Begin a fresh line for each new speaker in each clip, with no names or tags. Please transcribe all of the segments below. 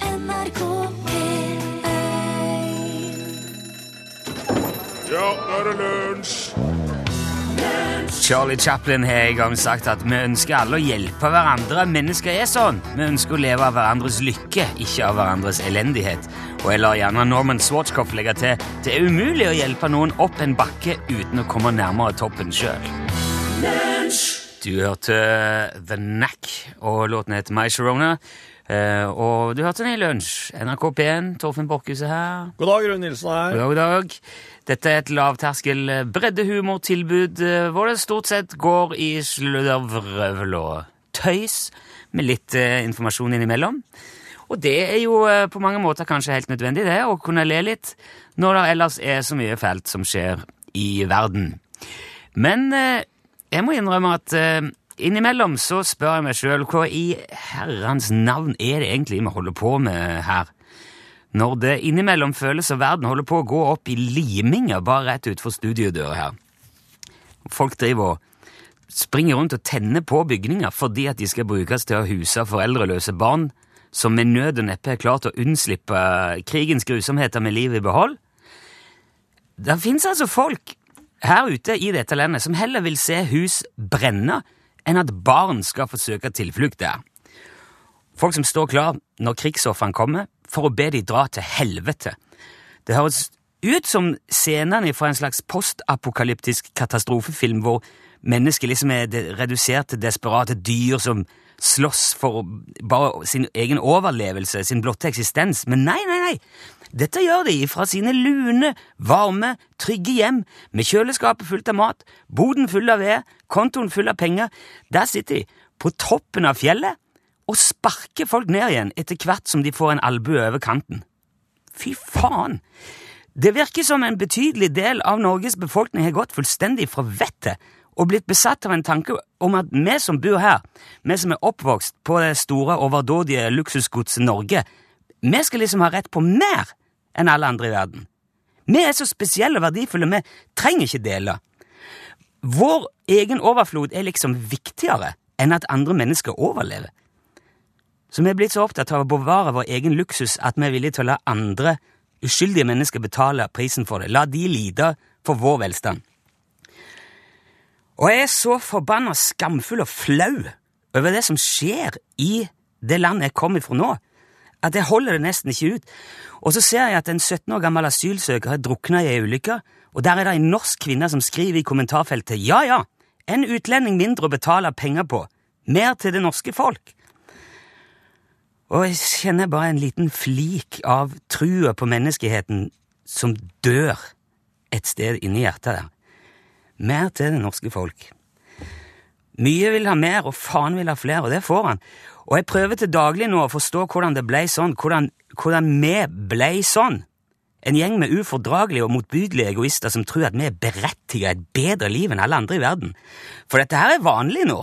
NRK P1
Ja, nå er det lunsj!
Charlie Chaplin har en gang sagt at vi ønsker alle å hjelpe hverandre. Mennesker er sånn. Vi ønsker å leve av hverandres lykke, ikke av hverandres elendighet. Og jeg lar gjerne Norman Schwarzkopf legge til det er umulig å hjelpe noen opp en bakke uten å komme nærmere toppen sjøl. Du hørte The Knack, og låten heter My Sharona. Eh, og du hørte den i lunsj. NRK P1, Torfinn Borchhuset her.
God dag, Rune Nilsen her.
God dag, god dag. Dette er et lavterskel eh, breddehumortilbud eh, hvor det stort sett går i sluddervrøvl og tøys, med litt eh, informasjon innimellom. Og det er jo eh, på mange måter kanskje helt nødvendig, det, å kunne le litt når det ellers er så mye fælt som skjer i verden. Men eh, jeg må innrømme at eh, innimellom så spør jeg meg sjøl hva i herrens navn er det egentlig vi holder på med her? når det innimellom føles som verden holder på å gå opp i liminger bare rett utenfor studiodøra her. Folk driver og springer rundt og tenner på bygninger fordi at de skal brukes til å huse foreldreløse barn som med nød og neppe er klart å unnslippe krigens grusomheter med livet i behold. Det fins altså folk her ute i dette landet som heller vil se hus brenne enn at barn skal få søke tilflukt der. Folk som står klar når krigsofrene kommer, for å be de dra til helvete. Det høres ut som scenene fra en slags postapokalyptisk katastrofefilm hvor mennesker liksom er de- redusert til desperate dyr som slåss for bare sin egen overlevelse, sin blotte eksistens. Men nei, nei, nei! Dette gjør de fra sine lune, varme, trygge hjem, med kjøleskapet fullt av mat, boden full av ved, kontoen full av penger. Der sitter de, på toppen av fjellet, og sparker folk ned igjen etter hvert som de får en albue over kanten. Fy faen! Det virker som en betydelig del av Norges befolkning har gått fullstendig fra vettet og blitt besatt av en tanke om at vi som bor her, vi som er oppvokst på det store, overdådige luksusgodset Norge, vi skal liksom ha rett på mer enn alle andre i verden. Vi er så spesielle og verdifulle, vi trenger ikke dele. Vår egen overflod er liksom viktigere enn at andre mennesker overlever. Så vi er blitt så opptatt av å bevare vår egen luksus at vi er villige til å la andre uskyldige mennesker betale prisen for det. La de lide for vår velstand. Og jeg er så forbanna skamfull og flau over det som skjer i det landet jeg kom ifra nå, at jeg holder det nesten ikke ut. Og så ser jeg at en 17 år gammel asylsøker har drukna i ei ulykke, og der er det ei norsk kvinne som skriver i kommentarfeltet ja ja, en utlending mindre å betale penger på, mer til det norske folk. Og jeg kjenner bare en liten flik av trua på menneskeheten som dør et sted inni hjertet der. Mer til det norske folk. Mye vil ha mer, og faen vil ha flere, og det får han. Og jeg prøver til daglig nå å forstå hvordan det blei sånn, hvordan, hvordan vi blei sånn. En gjeng med ufordragelige og motbydelige egoister som tror at vi er berettiget et bedre liv enn alle andre i verden. For dette her er vanlig nå.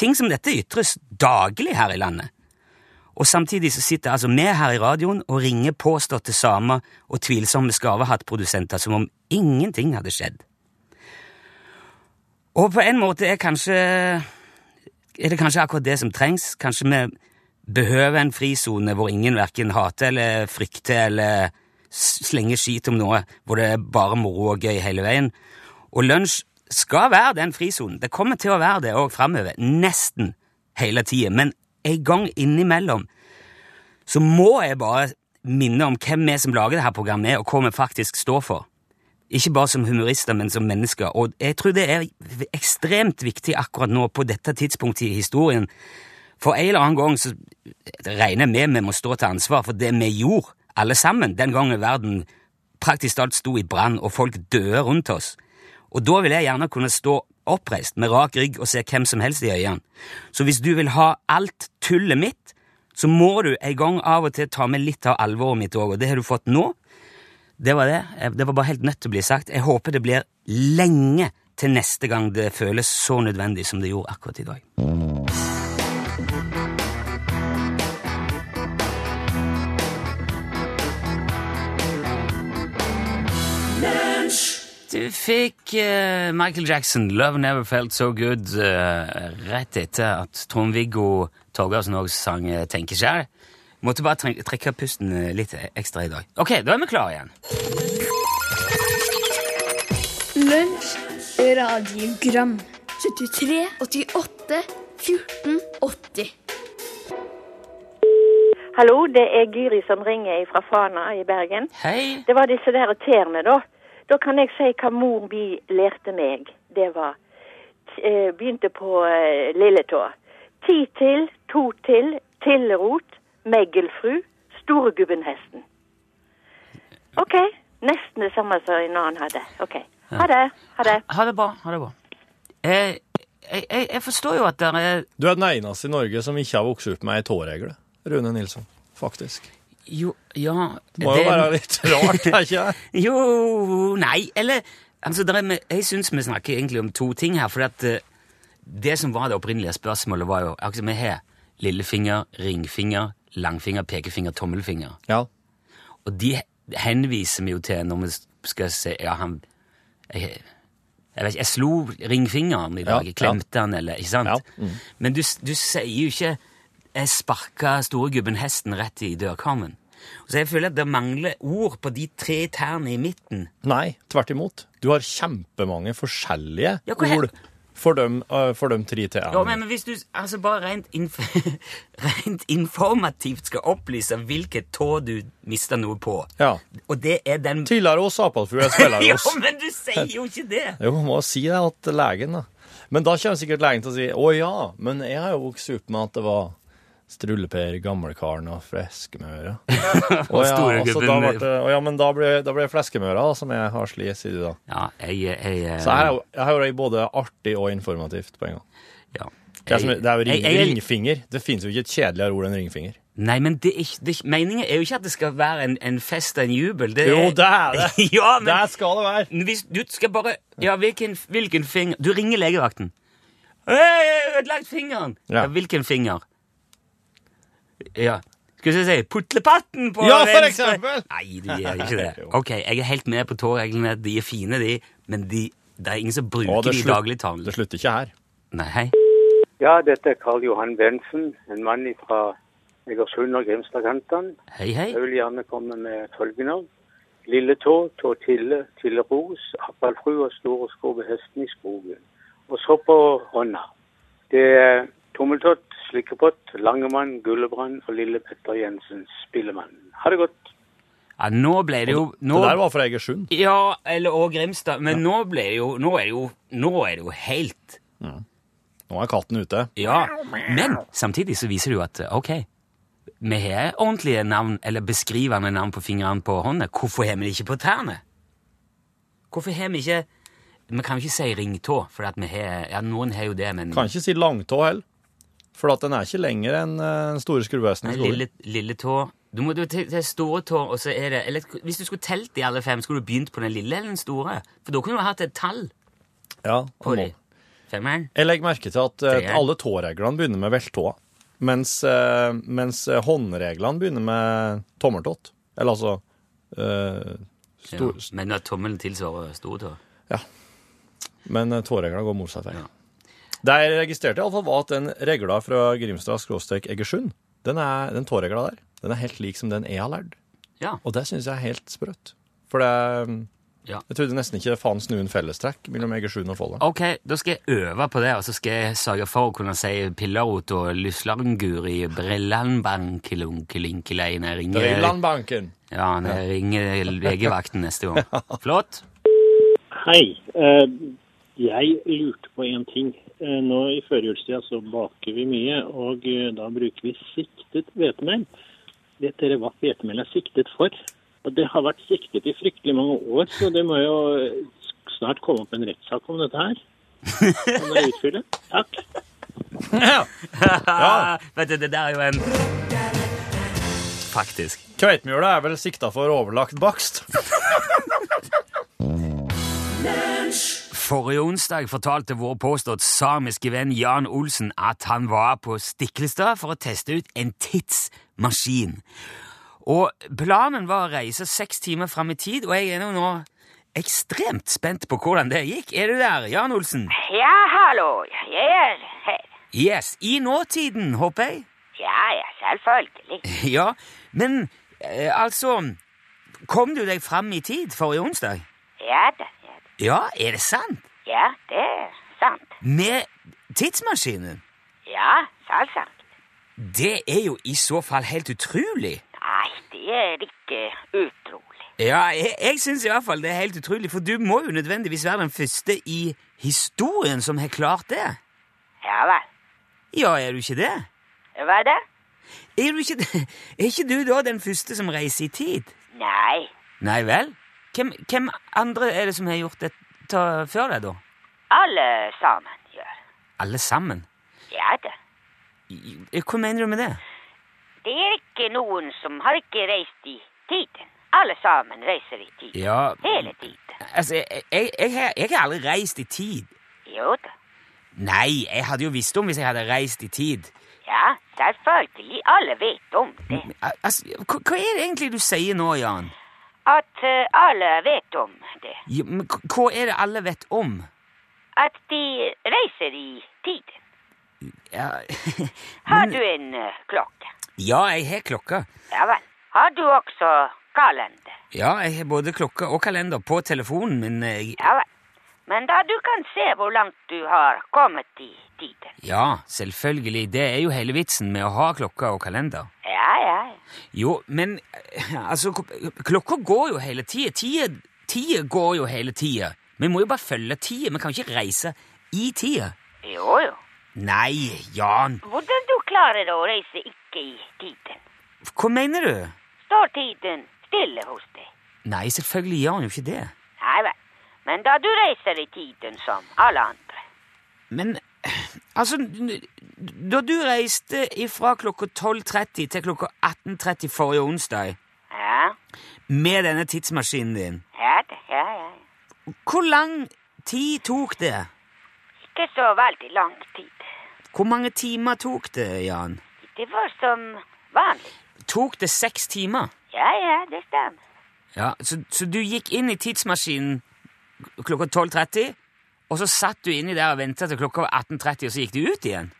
Ting som dette ytres daglig her i landet. Og samtidig så sitter altså vi her i radioen og ringer påståtte samer og tvilsomme skarvehattprodusenter som om ingenting hadde skjedd. Og på en måte er kanskje er det kanskje akkurat det som trengs. Kanskje vi behøver en frisone hvor ingen verken hater eller frykter eller s- slenger skit om noe, hvor det er bare moro og gøy hele veien. Og lunsj skal være den frisonen. Det kommer til å være det òg framover. Nesten hele tida. Men en gang innimellom så må jeg bare minne om hvem vi som lager dette programmet, er, og hva vi faktisk står for. Ikke bare som humorister, men som mennesker. Og jeg tror det er ekstremt viktig akkurat nå, på dette tidspunktet i historien. For en eller annen gang så regner jeg med vi må stå til ansvar for det vi gjorde, alle sammen, den gangen verden praktisk talt sto i brann og folk døde rundt oss. Og da vil jeg gjerne kunne stå oppreist med rak rygg og se hvem som helst i øynene. Så hvis du vil ha alt tullet mitt, så må du en gang av og til ta med litt av alvoret mitt òg, og det har du fått nå. Det var det. Eh, Det var bare helt nødt til å bli sagt. Jeg håper det blir lenge til neste gang det føles så nødvendig som det gjorde akkurat i dag. Du fikk eh, Michael Jackson, 'Love Never Felt So Good', eh, rett etter at Trond-Viggo Torgersen også sang eh, 'Tenke sjæl'. Måtte bare tre trekke pusten eh, litt ekstra i dag. Ok, da er vi klare igjen.
Lunsj, radiogram 73, 88, 14, 80
Hallo, det er Gyri som ringer fra Fana i Bergen.
Hei.
Det var disse der terne, da. Da kan jeg si hva mor mi lærte meg. Det var t- eh, Begynte på eh, lilletå. Ti til, to til, tillerot, meggelfru, storegubben hesten. OK. Nesten det samme som en annen hadde. OK. Ha det. Ha det.
Ha det bra. ha det bra. Eh, jeg, jeg, jeg forstår jo at det er
Du er den eneste i Norge som ikke har vokst opp med ei tåregle, Rune Nilsson. Faktisk.
Jo, ja
Det må jo være litt rart, er ikke det?
Jo, nei, eller altså, der er, vi- Jeg syns vi snakker egentlig om to ting her. For at, eh, det som var det opprinnelige spørsmålet, var jo akkurat som vi har lillefinger, ringfinger, langfinger, pekefinger, tommelfinger.
Ja.
Og de henviser vi jo til når vi skal se Ja, han Jeg, jeg vet ikke, jeg slo ringfingeren i dag.
Ja,
jeg klemte han, eller Ikke sant?
Ja, mm.
Men du, s- du sier jo ikke 'jeg sparka storegubben hesten rett i dørkarmen'. Så jeg føler at det mangler ord på de tre tærne i midten.
Nei, tvert imot. Du har kjempemange forskjellige
Ja, hva he-
ord for dem, øh, for dem tre til
Ja, men men hvis du altså bare rent, inf rent informativt skal opplyse hvilket tå du mister noe på,
Ja.
og det er den
Tidligere hos Apalfugl er spiller
Jo,
hos.
men du sier jo ikke det!
Jo, man må si det at legen, da. Men da kommer sikkert legen til å si å ja, men jeg har jo vokst opp med at det var Struleper, Gamlekaren og Fleskemøra. Å ja, altså, da ble det, å ja, men da ble, da ble det Fleskemøra da, som jeg har sli, sier du da.
Ja, jeg, jeg, eh, jeg
Så her er jo- her har jeg både artig og informativt på en gang.
ja.
Det er, som, det er jo ring,
Jeg- jeg-
ringfinger. Det finnes jo ikke et kjedeligere ord enn ringfinger.
Nei, men det er ikke, det er ikke, meningen er jo ikke at det skal være en, en fest og en jubel. Det
Jo, det er det.
ja, men
Der skal det være!
hvis du skal bare Ja, hvilken, hvilken finger Du ringer legevakten. Hei, jeg har ødelagt fingeren!
Ja.
Ja. hvilken finger? Ja. Skal vi si putlepatten på
Ja, for
venstre?
eksempel!
Nei, du gjør ikke det.
Jo.
Ok, jeg er helt med på tåreglene. De er fine, de, men de, det er ingen som
Og
bruker
det,
de i
slutt-
dagligtalen.
det slutter ikke her.
Nei, hei.
Ja, dette er Karl Johan Bensen, en mann fra Egersund og Grimstadkantene.
Hei, hei.
Jeg vil gjerne komme med følgende. Lille tå, tå tille, tille ros, appelfru og store sko ved hesten i skogen. Og så på hånda. Det er Tommeltott, Slikkepott, Langemann, Gullebrand og Lille Petter Jensen, Spillemann. Ha det godt.
Ja, nå ble det jo nå,
Det der var fra Egersund.
Ja, eller og Grimstad. Men nå ble det jo Nå er det jo, nå er det jo helt
Nå er katten ute.
Ja. Men samtidig så viser det jo at eh, ok, vi har ordentlige navn, eller beskrivende navn på fingrene på hånda. Hvorfor har vi det ikke på tærne? Hvorfor har vi ikke Vi kan jo ikke si ringtå, for at vi har Ja, noen har jo det, men
Kan ikke si langtå heller. For at den er ikke lenger enn eh, den store skrubbehesten i
Nei,
skogen.
lille, lille tå Du må jo til, til store tå, og så er det Eller hvis du skulle telt de alle fem, skulle du begynt på den lille eller den store? For da kunne du hatt et tall
Ja,
på
den må.
de. Femmeren?
jeg legger merke til at eh,
Treeren.
alle tåreglene begynner med veltåa. Mens, eh, mens eh, håndreglene begynner med tommeltott. Eller altså eh, stor,
ja. Men at tommelen tilsvarer stortå?
Men eh, tåregla går motsatt vei. Det jeg registrerte, i alle fall, var at den regla fra Grimstad skråstrek Egersund, den, er, den tåregla der, den er helt lik som den jeg har lært.
Ja.
Og det syns jeg er helt sprøtt. For det mm,
Ja.
Jeg trodde nesten ikke det fantes noen fellestrekk mellom Egersund og Folda.
Ok, da skal jeg øve på det, og så skal jeg sørge for å kunne si pillerot og lyslanguri, brillanbankelunkelinkelei når jeg ringer,
Drillandbanken!
ja, når jeg ringer legevakten neste gang. Flott.
Hei. Eh, jeg lurte på en ting. Eh, nå i førjulstida så baker vi mye, og eh, da bruker vi siktet hvetemel. Vet dere hva hvetemel er siktet for? Og det har vært siktet i fryktelig mange år, så det må jo eh, snart komme opp en rettssak om dette her. Kan dere utfylle? Takk.
Ja. Ah, Vet du, det der er jo en Faktisk.
Kveitmjøla er vel sikta for overlagt bakst.
Forrige onsdag fortalte vår påstått samiske venn Jan Olsen at han var på Stiklestad for å teste ut en tidsmaskin. Og planen var å reise seks timer fram i tid, og jeg er nå nå ekstremt spent på hvordan det gikk. Er du der, Jan Olsen?
Ja, hallo. Jeg er her.
Yes, i nåtiden, håper jeg.
Ja, ja, selvfølgelig.
Ja, men eh, altså Kom du deg fram i tid forrige onsdag?
Ja da, ja, da.
Ja, er det sant?
ja det er sant.
Med tidsmaskinen?
Ja, selvsagt.
Det er jo i så fall helt utrolig.
Nei, det er ikke utrolig.
Ja, jeg, jeg syns i hvert fall det er helt utrolig, for du må jo nødvendigvis være den første i historien som har klart det.
Ja vel.
Ja, er du ikke det?
Hva da?
Er du ikke det? Er ikke du da den første som reiser i tid?
Nei,
Nei vel? Hvem, hvem andre er det som har gjort det ta, før deg, da?
alle sammen gjør.
Alle sammen?
Ja da.
I- i- Hva mener du med det?
Det er ikke noen som har ikke reist i tiden. Alle sammen reiser i tiden.
Ja,
Hele tiden.
altså, jeg, jeg, jeg, har- jeg har aldri reist i tid.
Jo da.
Nei, jeg hadde jo visst om hvis jeg hadde reist i tid.
Ja, selvfølgelig. Alle vet om det.
Men, al- Altså, hva, hva er det egentlig du sier nå, Jan?
At eh, alle vet om det.
Ja, men hva- hva er det alle vet om?
At de reiser i tiden.
Ja,
Har
men,
du en eh, klokke?
ja jeg har klokka.
Ja vel. Har du også kalender?
Ja, jeg har både klokka og kalender på telefonen eh, min. Jeg,
Ja vel. Men da du kan se hvor langt du har kommet i tiden.
ja, selvfølgelig. Det er jo hele vitsen med å ha klokka og kalender.
Ja, ja, ja.
Jo, men altså, k- klokka går jo hele tida. Tida, tida går jo hele tida. Vi må jo bare følge tida. Vi kan jo ikke reise i tida.
Jo, jo.
Nei, Jan.
Hvordan du klarer å reise ikke i tiden?
Hva mener du?
Står tiden stille hos deg?
Nei, selvfølgelig gjør han jo ikke det.
Nei vel. Men da du reiser i tiden som alle andre.
Men altså n- Da du reiste ifra klokka 12.30 til klokka 18.30 forrige onsdag
Ja,
med denne tidsmaskinen din,
ja, det- ja, ja. ja.
hvor lang tid tok det?
Ikke så veldig lang tid.
Hvor mange timer tok det, Jan?
Det var som vanlig.
Tok det seks timer?
Ja, ja, det stemmer.
Ja, så, så du gikk inn i tidsmaskinen klokka 12.30, og så satt du inni der og venta til klokka var 18.30, og så gikk du ut igjen?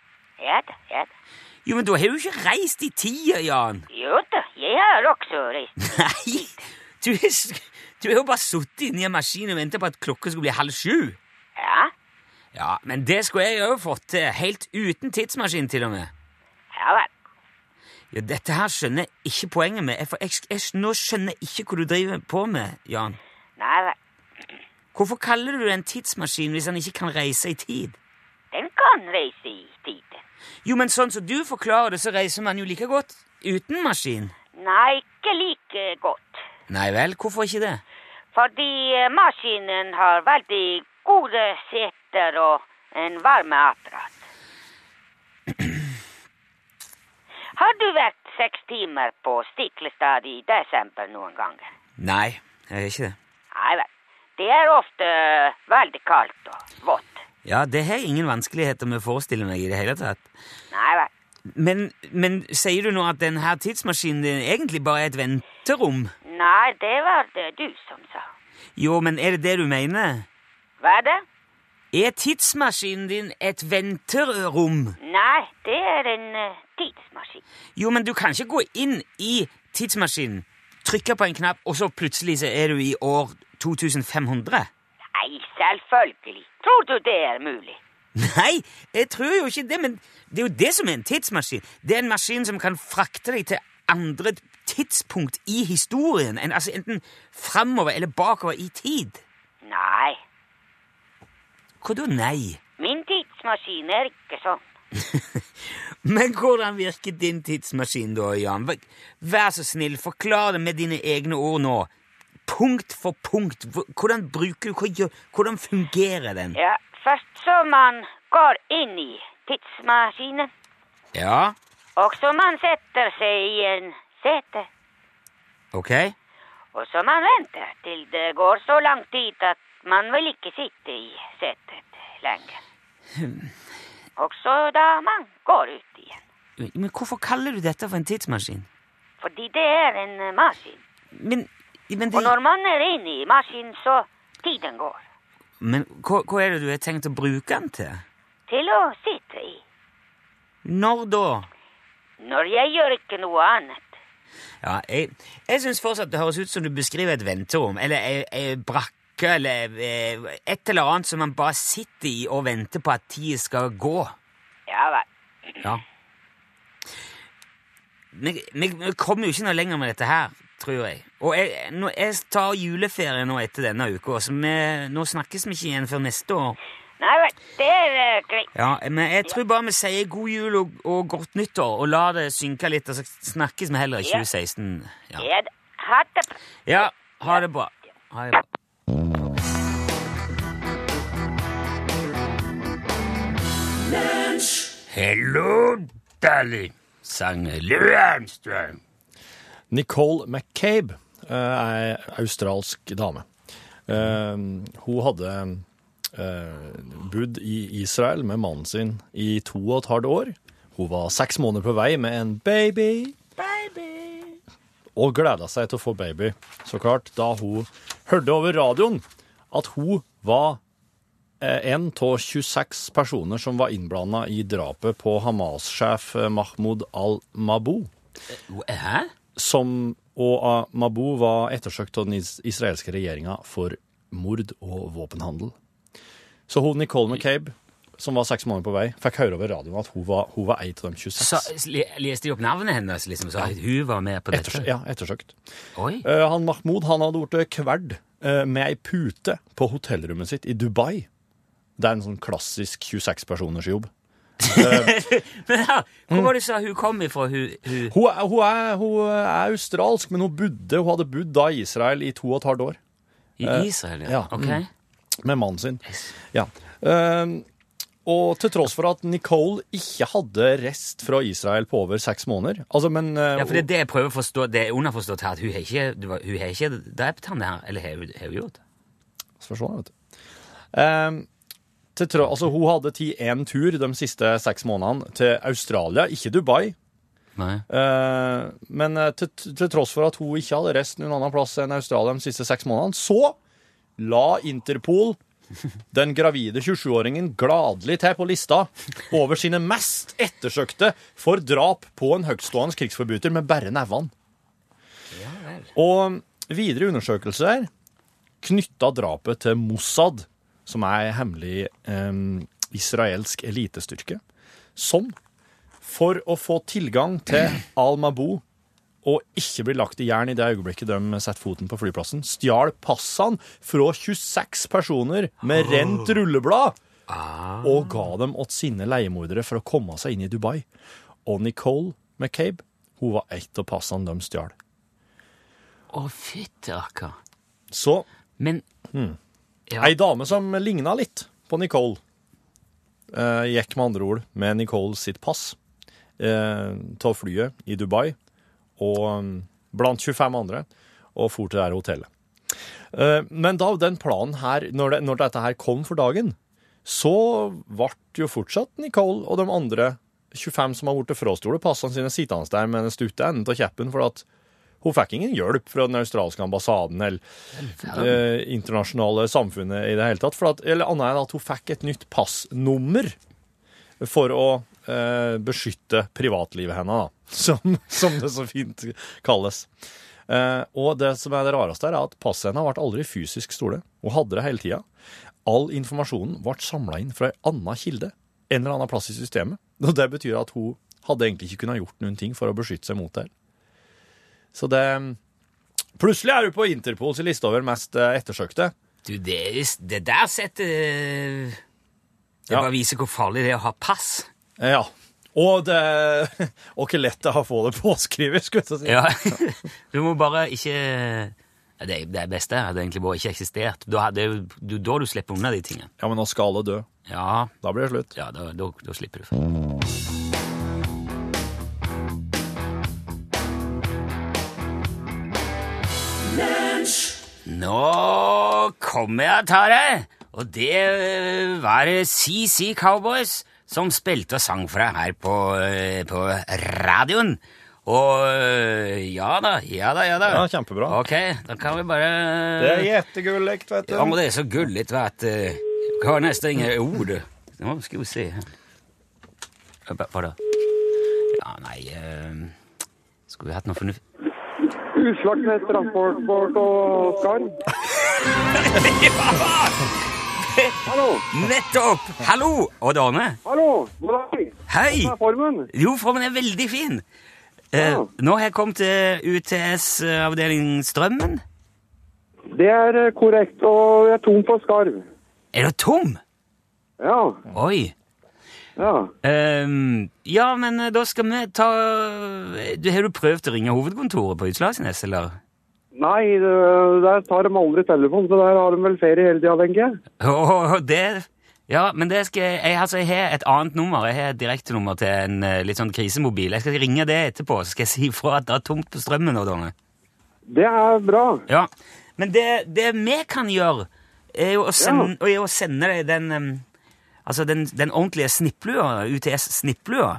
Ja da, ja da.
Jo, men da har du ikke reist i tida, Jan!
Jo da, jeg har også reist.
Nei! Du er, s- du er jo bare sittet inni en maskin og venta på at klokka skulle bli halv sju.
Ja,
Ja, men det skulle jeg jo fått til, helt uten tidsmaskin til og med.
ja vel.
Ja, Dette her skjønner jeg ikke poenget med. Jeg, for jeg, jeg, nå skjønner jeg ikke hva du driver på med, Jan.
Nei vel.
Hvorfor kaller du det en tidsmaskin hvis han ikke kan reise i tid?
Den kan reise i tiden.
Jo, men sånn som du forklarer det, så reiser man jo like godt uten maskin.
Nei, ikke like godt.
Nei vel, hvorfor ikke det?
Fordi eh, maskinen har veldig gode seter og en varmeapparat. Har du vært seks timer på Stiklestad i desember noen ganger?
Nei, jeg gjør ikke det.
Nei vel. Det er ofte eh, veldig kaldt og vått.
Ja, det har jeg ingen vanskeligheter med å forestille meg i det hele tatt.
Nei vel.
Men, men sier du nå at denne tidsmaskinen din egentlig bare er et venterom?
Nei, det var det du som sa.
Jo, men er det det du mener?
Hva er det?
Er tidsmaskinen din et venterom?
Nei, det er en eh, tidsmaskin.
Jo, men du kan ikke gå inn i tidsmaskinen, trykke på en knapp, og så plutselig så er du i år 2500.
Nei, selvfølgelig. Tror du det er mulig?
Nei, jeg tror jo ikke det, men det er jo det som er en tidsmaskin. Det er en maskin som kan frakte deg til andre tidspunkt i historien, enn, altså enten framover eller bakover i tid.
Nei,
Hva da nei?
min tidsmaskin er ikke sånn.
Men hvordan virker din tidsmaskin da, Jan? Vær- Vær så snill, forklar det med dine egne ord nå. Punkt for punkt. Hvor- Hvordan bruker du, hva gjør, hvordan fungerer den?
Ja, først så man går inn i tidsmaskinen,
Ja,
og så man setter seg i en sete,
ok.
og så man venter til det går så lang tid at man vil ikke sitte i setet lenger. Og så da man går ut igjen,
Men hvorfor kaller du dette for en tidsmaskin?
fordi det er en maskin.
Men, men det...
Og når man er inne i maskinen, så tiden går
Men hva, hva er det du har tenkt å bruke den til?
til å sitte i.
Når da?
Når jeg gjør ikke noe annet.
Ja, jeg, jeg syns fortsatt det høres ut som du beskriver et venterom, eller ei, ei brakke, eller eh, et eller annet som man bare sitter i og venter på at tida skal gå.
Ja vel.
Ja. Vi, vi, vi kommer jo ikke noe lenger med dette her, tror jeg. Og jeg, nå, jeg tar juleferie nå etter denne uka, så vi, nå snakkes vi ikke igjen før neste år.
Nei vel, det er eh, greit.
Ja, men jeg tror bare vi sier god jul og, og godt nyttår, og lar det synke litt, og så snakkes vi heller i
Ja.
2016. Ja.
Ja, da. Ha det bra.
Ja, ha det bra. Ha det bra. Hello, darling, sang Lørenstrøm.
Nicole McCabe eh, er australsk dame. Eh, hun hadde eh, bodd i Israel med mannen sin i to og et halvt år. Hun var seks måneder på vei med en baby. Og gleda seg til å få baby, så klart, da hun hørte over radioen at hun var eh, en av 26 personer som var innblanda i drapet på Hamas-sjef eh, Mahmoud al-Mabou
eh, Hæ?
som og ah, Mabou var ettersøkt av den is- israelske regjeringa for mord og våpenhandel. Så hun Nicole McCabe, som var seks måneder på vei, fikk høre over radioen at hun var, hun var ei av de 26.
Så, le- leste de opp navnet hennes, liksom, så hun var med på dette?
Ettersø ja, ettersøkt.
Oi.
Eh, han Mahmoud han hadde blitt kverd eh, med ei pute på hotellrommet sitt i Dubai. Det er en sånn klassisk 26-personers jobb.
Men ja, hvor var det du sa hun kom ifra? Hun, hun.
Hun er, hun, er, hun er australsk, men hun, bodde, hun hadde bodd da i Israel i to og et halvt år.
I Israel, Eh, ja.
ja,
Ok.
mm. med mannen sin. Ja. Ehm, og til tross for at Nicole ikke hadde rest fra Israel på over seks måneder altså, men, eh,
Ja, for det er det jeg prøver å forstå, det er underforstått her, at hun har ikke, du var- hun har ikke drept han der, eller har hun, har hun gjort det?
Skal vi se, vet du. Ehm, til tro, altså, hun hadde tatt én tur de siste seks månedene til Australia, ikke Dubai.
Nei.
Eh, men eh, til, til tross for at hun ikke hadde reist noen annen plass enn Australia de siste seks månedene, så la Interpol den gravide 27-åringen gladelig til på lista over sine mest ettersøkte for drap på en høytstående krigsforbryter med bare nevene. Og videre undersøkelser knytta drapet til Mossad, som er en hemmelig eh, israelsk elitestyrke, som for å få tilgang til Al-Mabou og ikke bli lagt i jern i det øyeblikket de setter foten på flyplassen, stjal passene fra 26 personer med rent rulleblad og ga dem åt sine leiemordere for å komme seg inn i Dubai. Og Nicole McCabe, hun var ett av passene de stjal.
Å, fytte, akka.
Så
Men, ja.
ei dame som ligna litt på Nicole, eh, gikk med andre ord med Nicole sitt pass eh, til flyet i Dubai, og mm, blant 25 andre, og for til det her hotellet. Eh, men da den planen her, når, det, når dette her kom for dagen, så ble jo fortsatt Nicole og de andre 25 som har blitt frastjålet passene sine, sittende der med den stutte enden av kjeppen, for at hun fikk ingen hjelp fra den australske ambassaden eller eh, internasjonale samfunnet i det hele tatt. For at, eller annet enn at hun fikk et nytt passnummer for å eh, beskytte privatlivet hennes, da, som, som det så fint kalles. Eh, og det som er det rareste, her er at passet hennes ble aldri fysisk stole. Hun hadde det hele tida. All informasjonen ble samla inn fra ei anna kilde en eller annen plass i systemet. Og det betyr at hun hadde egentlig ikke kunnet gjort noen ting for å beskytte seg mot det. Så det Plutselig er du på Interpols liste over mest eh, ettersøkte.
Du, det, er visst- det der setter eh, Det
Ja.
bare viser hvor farlig det er å ha pass.
Eh, Ja. Og det Og ikke lett det er å få det påskrevet, skulle jeg til å si.
Ja. Du må bare ikke Ja, Det, det beste hadde egentlig bare ikke eksistert. Da, hadde, jo- du, da du slipper unna de tingene.
Ja, men nå skal alle dø.
Ja,
Da blir det slutt.
ja da, da, da slipper du. Nå kommer jeg og tar deg! Og det øh, var øh, CC Cowboys som spilte og sang fra her på, øh, på radioen. Og øh, ja da, ja da, ja da.
Ja, kjempebra.
Ok, da kan vi bare
gjettegullig, vet
Ja, men det er så gulligt va, att... eh, Hva var nästa inga ord? Nu ska vi se här. Ja, ba- Vadå? Ja, nei eh, Skulle vi hatt noe fornuft
Utslagt med transportbåt og skar. Hallo,
Nettopp! Hallo, Odd Arne.
hallo, god dag.
Hei!
Hvordan er formen?
Jo, formen er veldig fin. Eh,
Ja.
nå har jeg kommet til UTS eh, avdeling Strømmen.
Det er eh, korrekt, og jeg er tom for skarv.
Er du tom?
Ja,
Oi.
ja.
Ehm, ja, men eh, da skal vi ta eh, du, Har du prøvd å ringe hovedkontoret på Utslagsnes, eller?
Nei, det- der tar de aldri telefon, så der har de vel ferie hele tida, tenker jeg.
Åh, det Ja, men det skal jeg jeg- Altså, jeg har et annet nummer. Jeg har et direktenummer til en eh, litt sånn krisemobil. Jeg skal ringe det etterpå, så skal jeg si ifra at det er tomt på strømmen. nå, Donne.
Det er bra.
Ja. Men det, det vi kan gjøre, er jo å sende, er jo å sende deg den em, Altså den, den ordentlige snipplua, UTS-snipplua.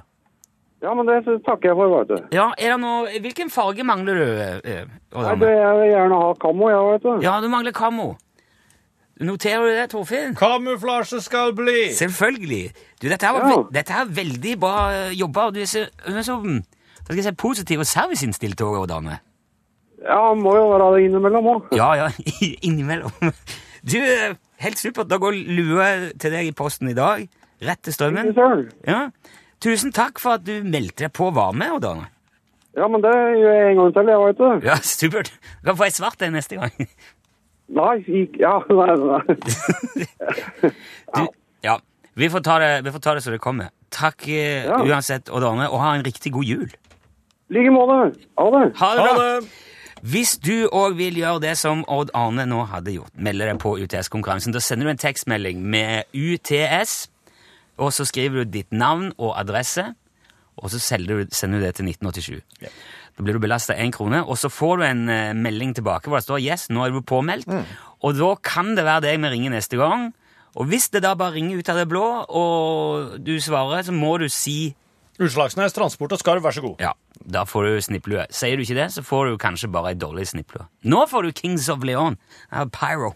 Ja, men det takker jeg for, vet du.
Ja, er det noe Hvilken farge mangler du? eh, Odd
Nei,
Arne?
det jeg vil gjerne ha kammo, jeg, vet du.
Ja, du mangler kamo. Noterer du det, Torfinn?
Kamuflasje skal bli!
Selvfølgelig. Du, dette her var
Ja.
ve- dette her er veldig bra eh, jobba. og Du er så, du er så mm, hva skal jeg si, positiv og serviceinnstilt òg, Dane.
Ja, må jo være det innimellom òg.
Ja, ja, innimellom. Du, eh, helt supert. Da går lua til deg i posten i dag. Rett til strømmen. Ja. Tusen takk for at du meldte deg på var med, Dane.
Ja, men det gjør jeg en gang til, jeg, vet du.
Ja, supert. Du kan få ei svart en neste gang.
Nei, ikke Ja, nei, nei.
Du, ja. Vi får ta det, vi får ta det så det kommer. Takk eh,
Ja.
uansett, Odd Arne, og ha en riktig god jul.
I like måte. Ha det.
Ha det
Ha
bra!
det!
Hvis du òg vil gjøre det som Odd Arne nå hadde gjort, melde deg på UTS-konkurransen, da sender du en tekstmelding med UTS, og så skriver du ditt navn og adresse, og så selger du, sender du det til 1987. Da blir du belasta én krone, og så får du en eh, melding tilbake hvor det står 'yes, nå er du påmeldt', og da kan det være deg vi ringer neste gang. Og hvis det da bare ringer ut av det blå, og du svarer, så må du si
Utslagsnes transport og skarv, vær så god.
ja, da får du snipplue. Sier du ikke det, så får du kanskje bare ei dårlig snipplue. Nå får du Kings of Leon av Pyro.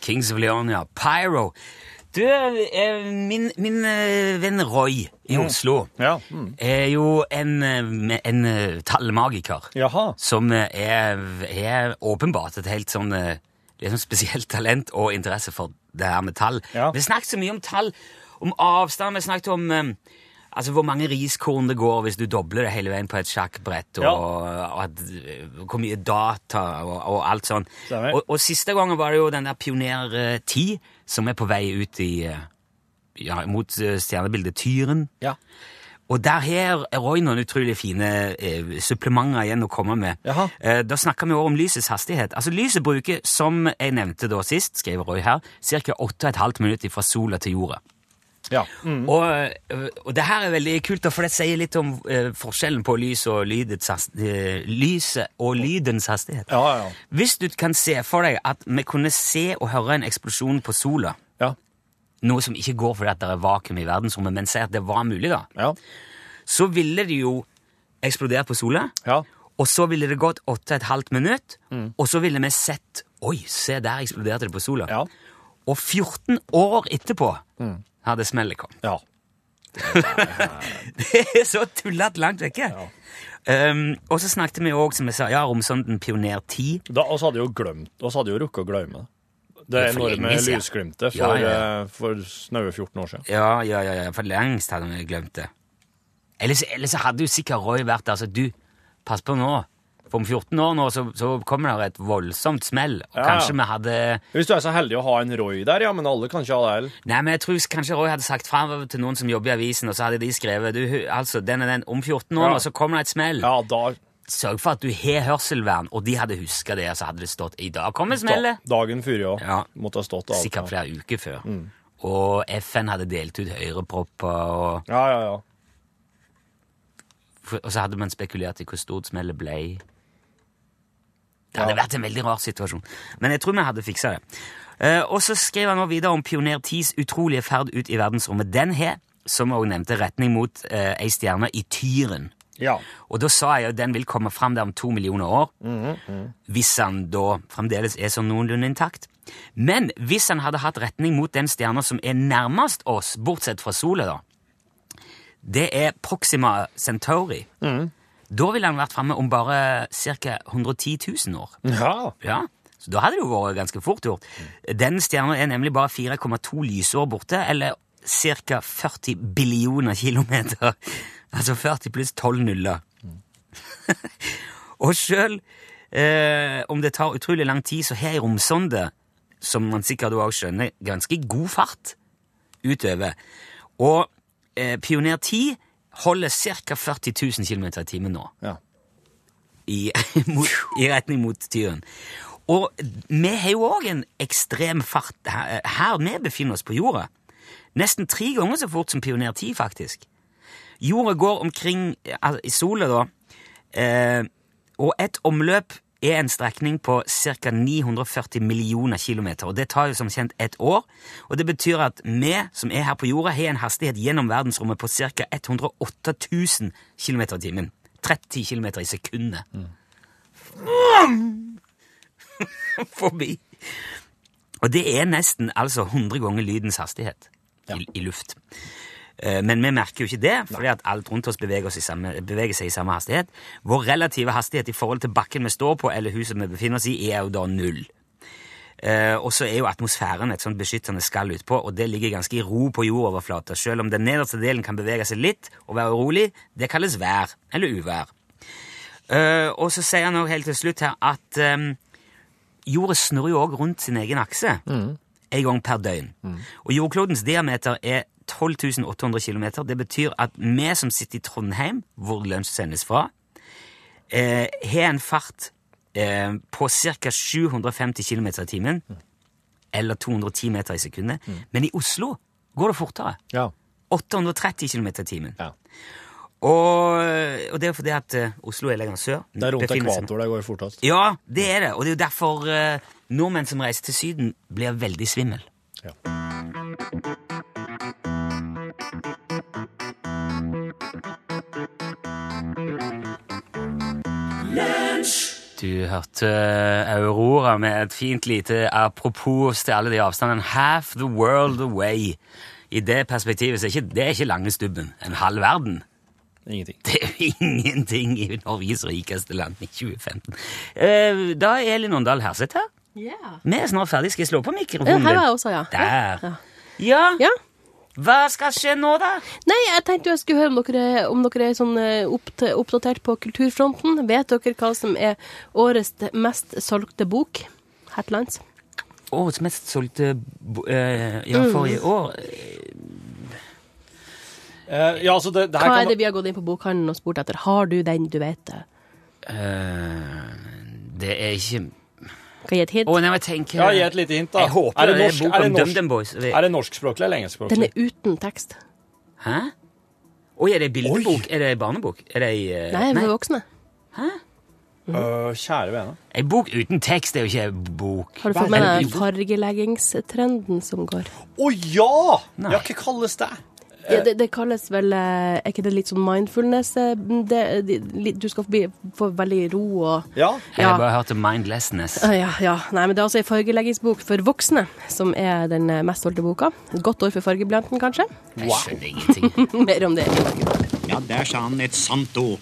Kings of Leon, ja. Pyro. Du, eh, min, min eh, venn Roy i Oslo
Ja. Mm.
er jo en, eh, en eh, tallmagiker
Jaha.
som eh, er, er åpenbart et helt sånn eh, liksom spesielt talent og interesse for det her med tall.
Ja.
Vi snakket så mye om tall, om avstand, vi snakket om eh, altså hvor mange riskorn det går hvis du dobler det hele veien på et sjakkbrett, og,
Ja.
og at, eh, hvor mye data og, og alt sånn.
Stemmer.
Og, og siste gangen var det jo den der Pioner eh, 10 som er på vei ut i, eh, ja, mot eh, stjernebildet Tyren.
Ja.
Og der har Roy noen utrolig fine eh, supplementer igjen å komme med.
Jaha.
Eh, da snakker vi også om lysets hastighet. Altså Lyset bruker, som jeg nevnte da sist, skriver Roy her, ca. 8,5 minutter fra sola til jorda.
Ja. Mm.
Og, eh, og det her er veldig kult, da, for det sier litt om eh, forskjellen på lys og lydets hast- eh, lyset og lydens hastighet.
Ja, ja, ja.
Hvis du kan se for deg at vi kunne se og høre en eksplosjon på sola,
Ja.
noe som ikke går fordi at det er vakuum i verdensrommet, men si at det var mulig, da
Ja.
så ville det jo eksplodert på sola,
Ja.
og så ville det gått åtte og et halvt minutt,
Mm.
og så ville vi sett Oi, se, der eksploderte det på sola.
Ja. Mm.
Og 14 år etterpå hadde smellet kommet.
ja.
Det er så tullete langt vekke! Um, og så snakket vi òg, som jeg sa, ja, romsonden Pioner 10.
Da, oss hadde jo glemt, oss hadde jo rukket å glemme det. Det
Det er for
enorme
lenge siden.
lysglimtet for,
Ja, ja.
eh, for snaue 14 år siden.
Ja, ja, ja, ja, for lengst hadde vi glemt det. Ellers, ellers så hadde jo sikkert Roy vært der, så du, pass på nå. For om 14 år nå så, så kommer det et voldsomt smell. Og
Ja.
kanskje vi hadde
Hvis du er så heldig å ha en Roy der, ja, men alle kan ikke ha det heller.
Nei, men jeg tror kanskje Roy hadde sagt fra til noen som jobber i avisen, og så hadde de skrevet du, hu- altså, den er den om 14 år,
Ja.
og så kommer det et smell.
Ja, da,
Sørg for at du har hørselvern, og de hadde huska det, og så hadde det stått i dag kommer
da
smellet.
dagen før, ja. Mm.
Ja.
Måtte ha stått av.
Sikkert flere uker før. Og FN hadde delt ut høyrepropper, og,
Ja, ja, ja.
og så hadde man spekulert i hvor stort smellet ble. Det hadde vært en veldig rar situasjon, men jeg tror vi hadde fiksa det. Eh, og så skrev han nå videre om Pioner 10s utrolige ferd ut i verdensrommet. Den har, som jeg også nevnte, retning mot eh, ei stjerne i Tyren.
Ja.
Og da sa jeg jo den vil komme fram der om to millioner år, hvis han da fremdeles er sånn noenlunde intakt. Men hvis han hadde hatt retning mot den stjerna som er nærmest oss, bortsett fra sola, da, det er Proxima Centauri. Da ville han vært framme om bare ca. 110 000 år.
Ja.
Ja, så da hadde det jo vært ganske fort gjort. Den stjerna er nemlig bare 4,2 lysår borte, eller ca. 40 billioner kilometer. Altså 40 pluss 12 nuller. Og sjøl eh, om det tar utrolig lang tid, så har ei romsonde, som man sikkert også skjønner, ganske god fart utover. Og eh, Pioner 10 holder ca. 40 000 km i timen nå
ja.
i, mot, i retning mot tyren. Og vi har jo òg en ekstrem fart her, her vi befinner oss på jorda. Nesten tre ganger så fort som Pioner 10, faktisk. Jorda går omkring altså, i sola, da, eh, og et omløp er en strekning på ca. 940 millioner kilometer, og det tar jo som kjent et år, og det betyr at vi som er her på jorda, har en hastighet gjennom verdensrommet på ca. 108 000 kilometer i timen. 30 kilometer i sekundet. Forbi. Og det er nesten altså 100 ganger lydens hastighet i, i luft. Eh, Men vi merker jo ikke det, fordi at alt rundt oss beveger, oss i samme, beveger seg i samme hastighet. Vår relative hastighet i forhold til bakken vi står på, eller huset vi befinner oss i, er jo da null. Eh, Og så er jo atmosfæren et sånt beskyttende skall utpå, og det ligger ganske i ro på jordoverflata, selv om den nederste delen kan bevege seg litt og være urolig. Det kalles vær, eller uvær. Eh, Og så sier han også helt til slutt her at eh, jorda snurrer jo òg rundt sin egen akse
Mm.
en gang per døgn. Og jordklodens diameter er 12.800 km. Det betyr at vi som sitter i Trondheim, hvor lunsj sendes fra, eh, har en fart eh, på ca. 750 km i timen,
Mm.
eller 210 meter i sekundet. Men i Oslo går det fortere.
Ja.
830 km i timen.
Ja.
Og, og det er jo fordi at eh, Oslo er lenger sør.
Det er rundt
Befinner seg-
ekvator det går fortest.
ja, det er det. Og det er jo derfor eh, nordmenn som reiser til Syden, blir veldig svimmel.
Ja.
Du hørte eh, Aurora med et fint lite apropos til alle de avstandene. Half the world away. I det perspektivet så er ikke, det er ikke lange stubben. En halv verden.
Ingenting.
Det er jo ingenting i Norges rikeste land i 2015. Eh, da er Elin Åndal Herseth her.
Ja.
Vi er snart ferdig. Skal jeg slå på
Her
mikrofonen
var jeg også, ja.
Der. Ja,
Ja.
hva skal skje nå, da?
Nei, jeg tenkte jeg skulle høre om dere, om dere er sånn eh, oppte- oppdatert på kulturfronten. Vet dere hva som er årets mest solgte bok her til lands?
Årets mest solgte bo- eh, Ja, forrige
Mm.
år
Eh, ja, altså det, det her
Hva
kan
er det vi har gått inn på bokhandelen og spurt etter? Har du den, du vet det?
eh, Det er ikke
Kan jeg gi et hint?
Å, nei, jeg tenker
Ja, gi et lite hint, da.
Jeg håper
er det,
det er
norsk,
bok
er det,
om
norsk,
DumDum Boys.
er det norskspråklig eller engelskspråklig?
Den er uten tekst.
Hæ? Oi, er det bildebok? Er det barnebok? Er det eh,
Nei, den er for voksne.
Øh, kjære vene.
Ei bok uten tekst er jo ikke ei bok.
Har du fått med deg fargeleggingstrenden som går?
Å ja!
Nei.
Ja, hva kalles det?
Ja, det, det kalles vel eh, Er ikke det litt sånn mindfulness? eh, Det, det, litt- du skal bli, få veldig ro og
Ja.
Jeg
Ja.
har bare hørt om mindlessness.
Ah, Ja, ja. Nei, men det er altså ei fargeleggingsbok for voksne som er den eh, mest solgte boka. Et godt år for fargeblanten, kanskje.
Jeg skjønner ingenting.
Mer om det.
Ja, der sa han et sant ord.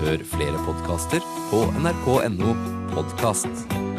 Hør flere podkaster på nrk.no podkast.